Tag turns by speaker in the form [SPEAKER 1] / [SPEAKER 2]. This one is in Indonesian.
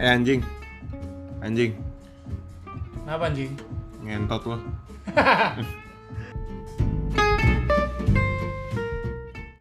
[SPEAKER 1] Eh anjing. Anjing,
[SPEAKER 2] Kenapa anjing?
[SPEAKER 1] ngentot lo.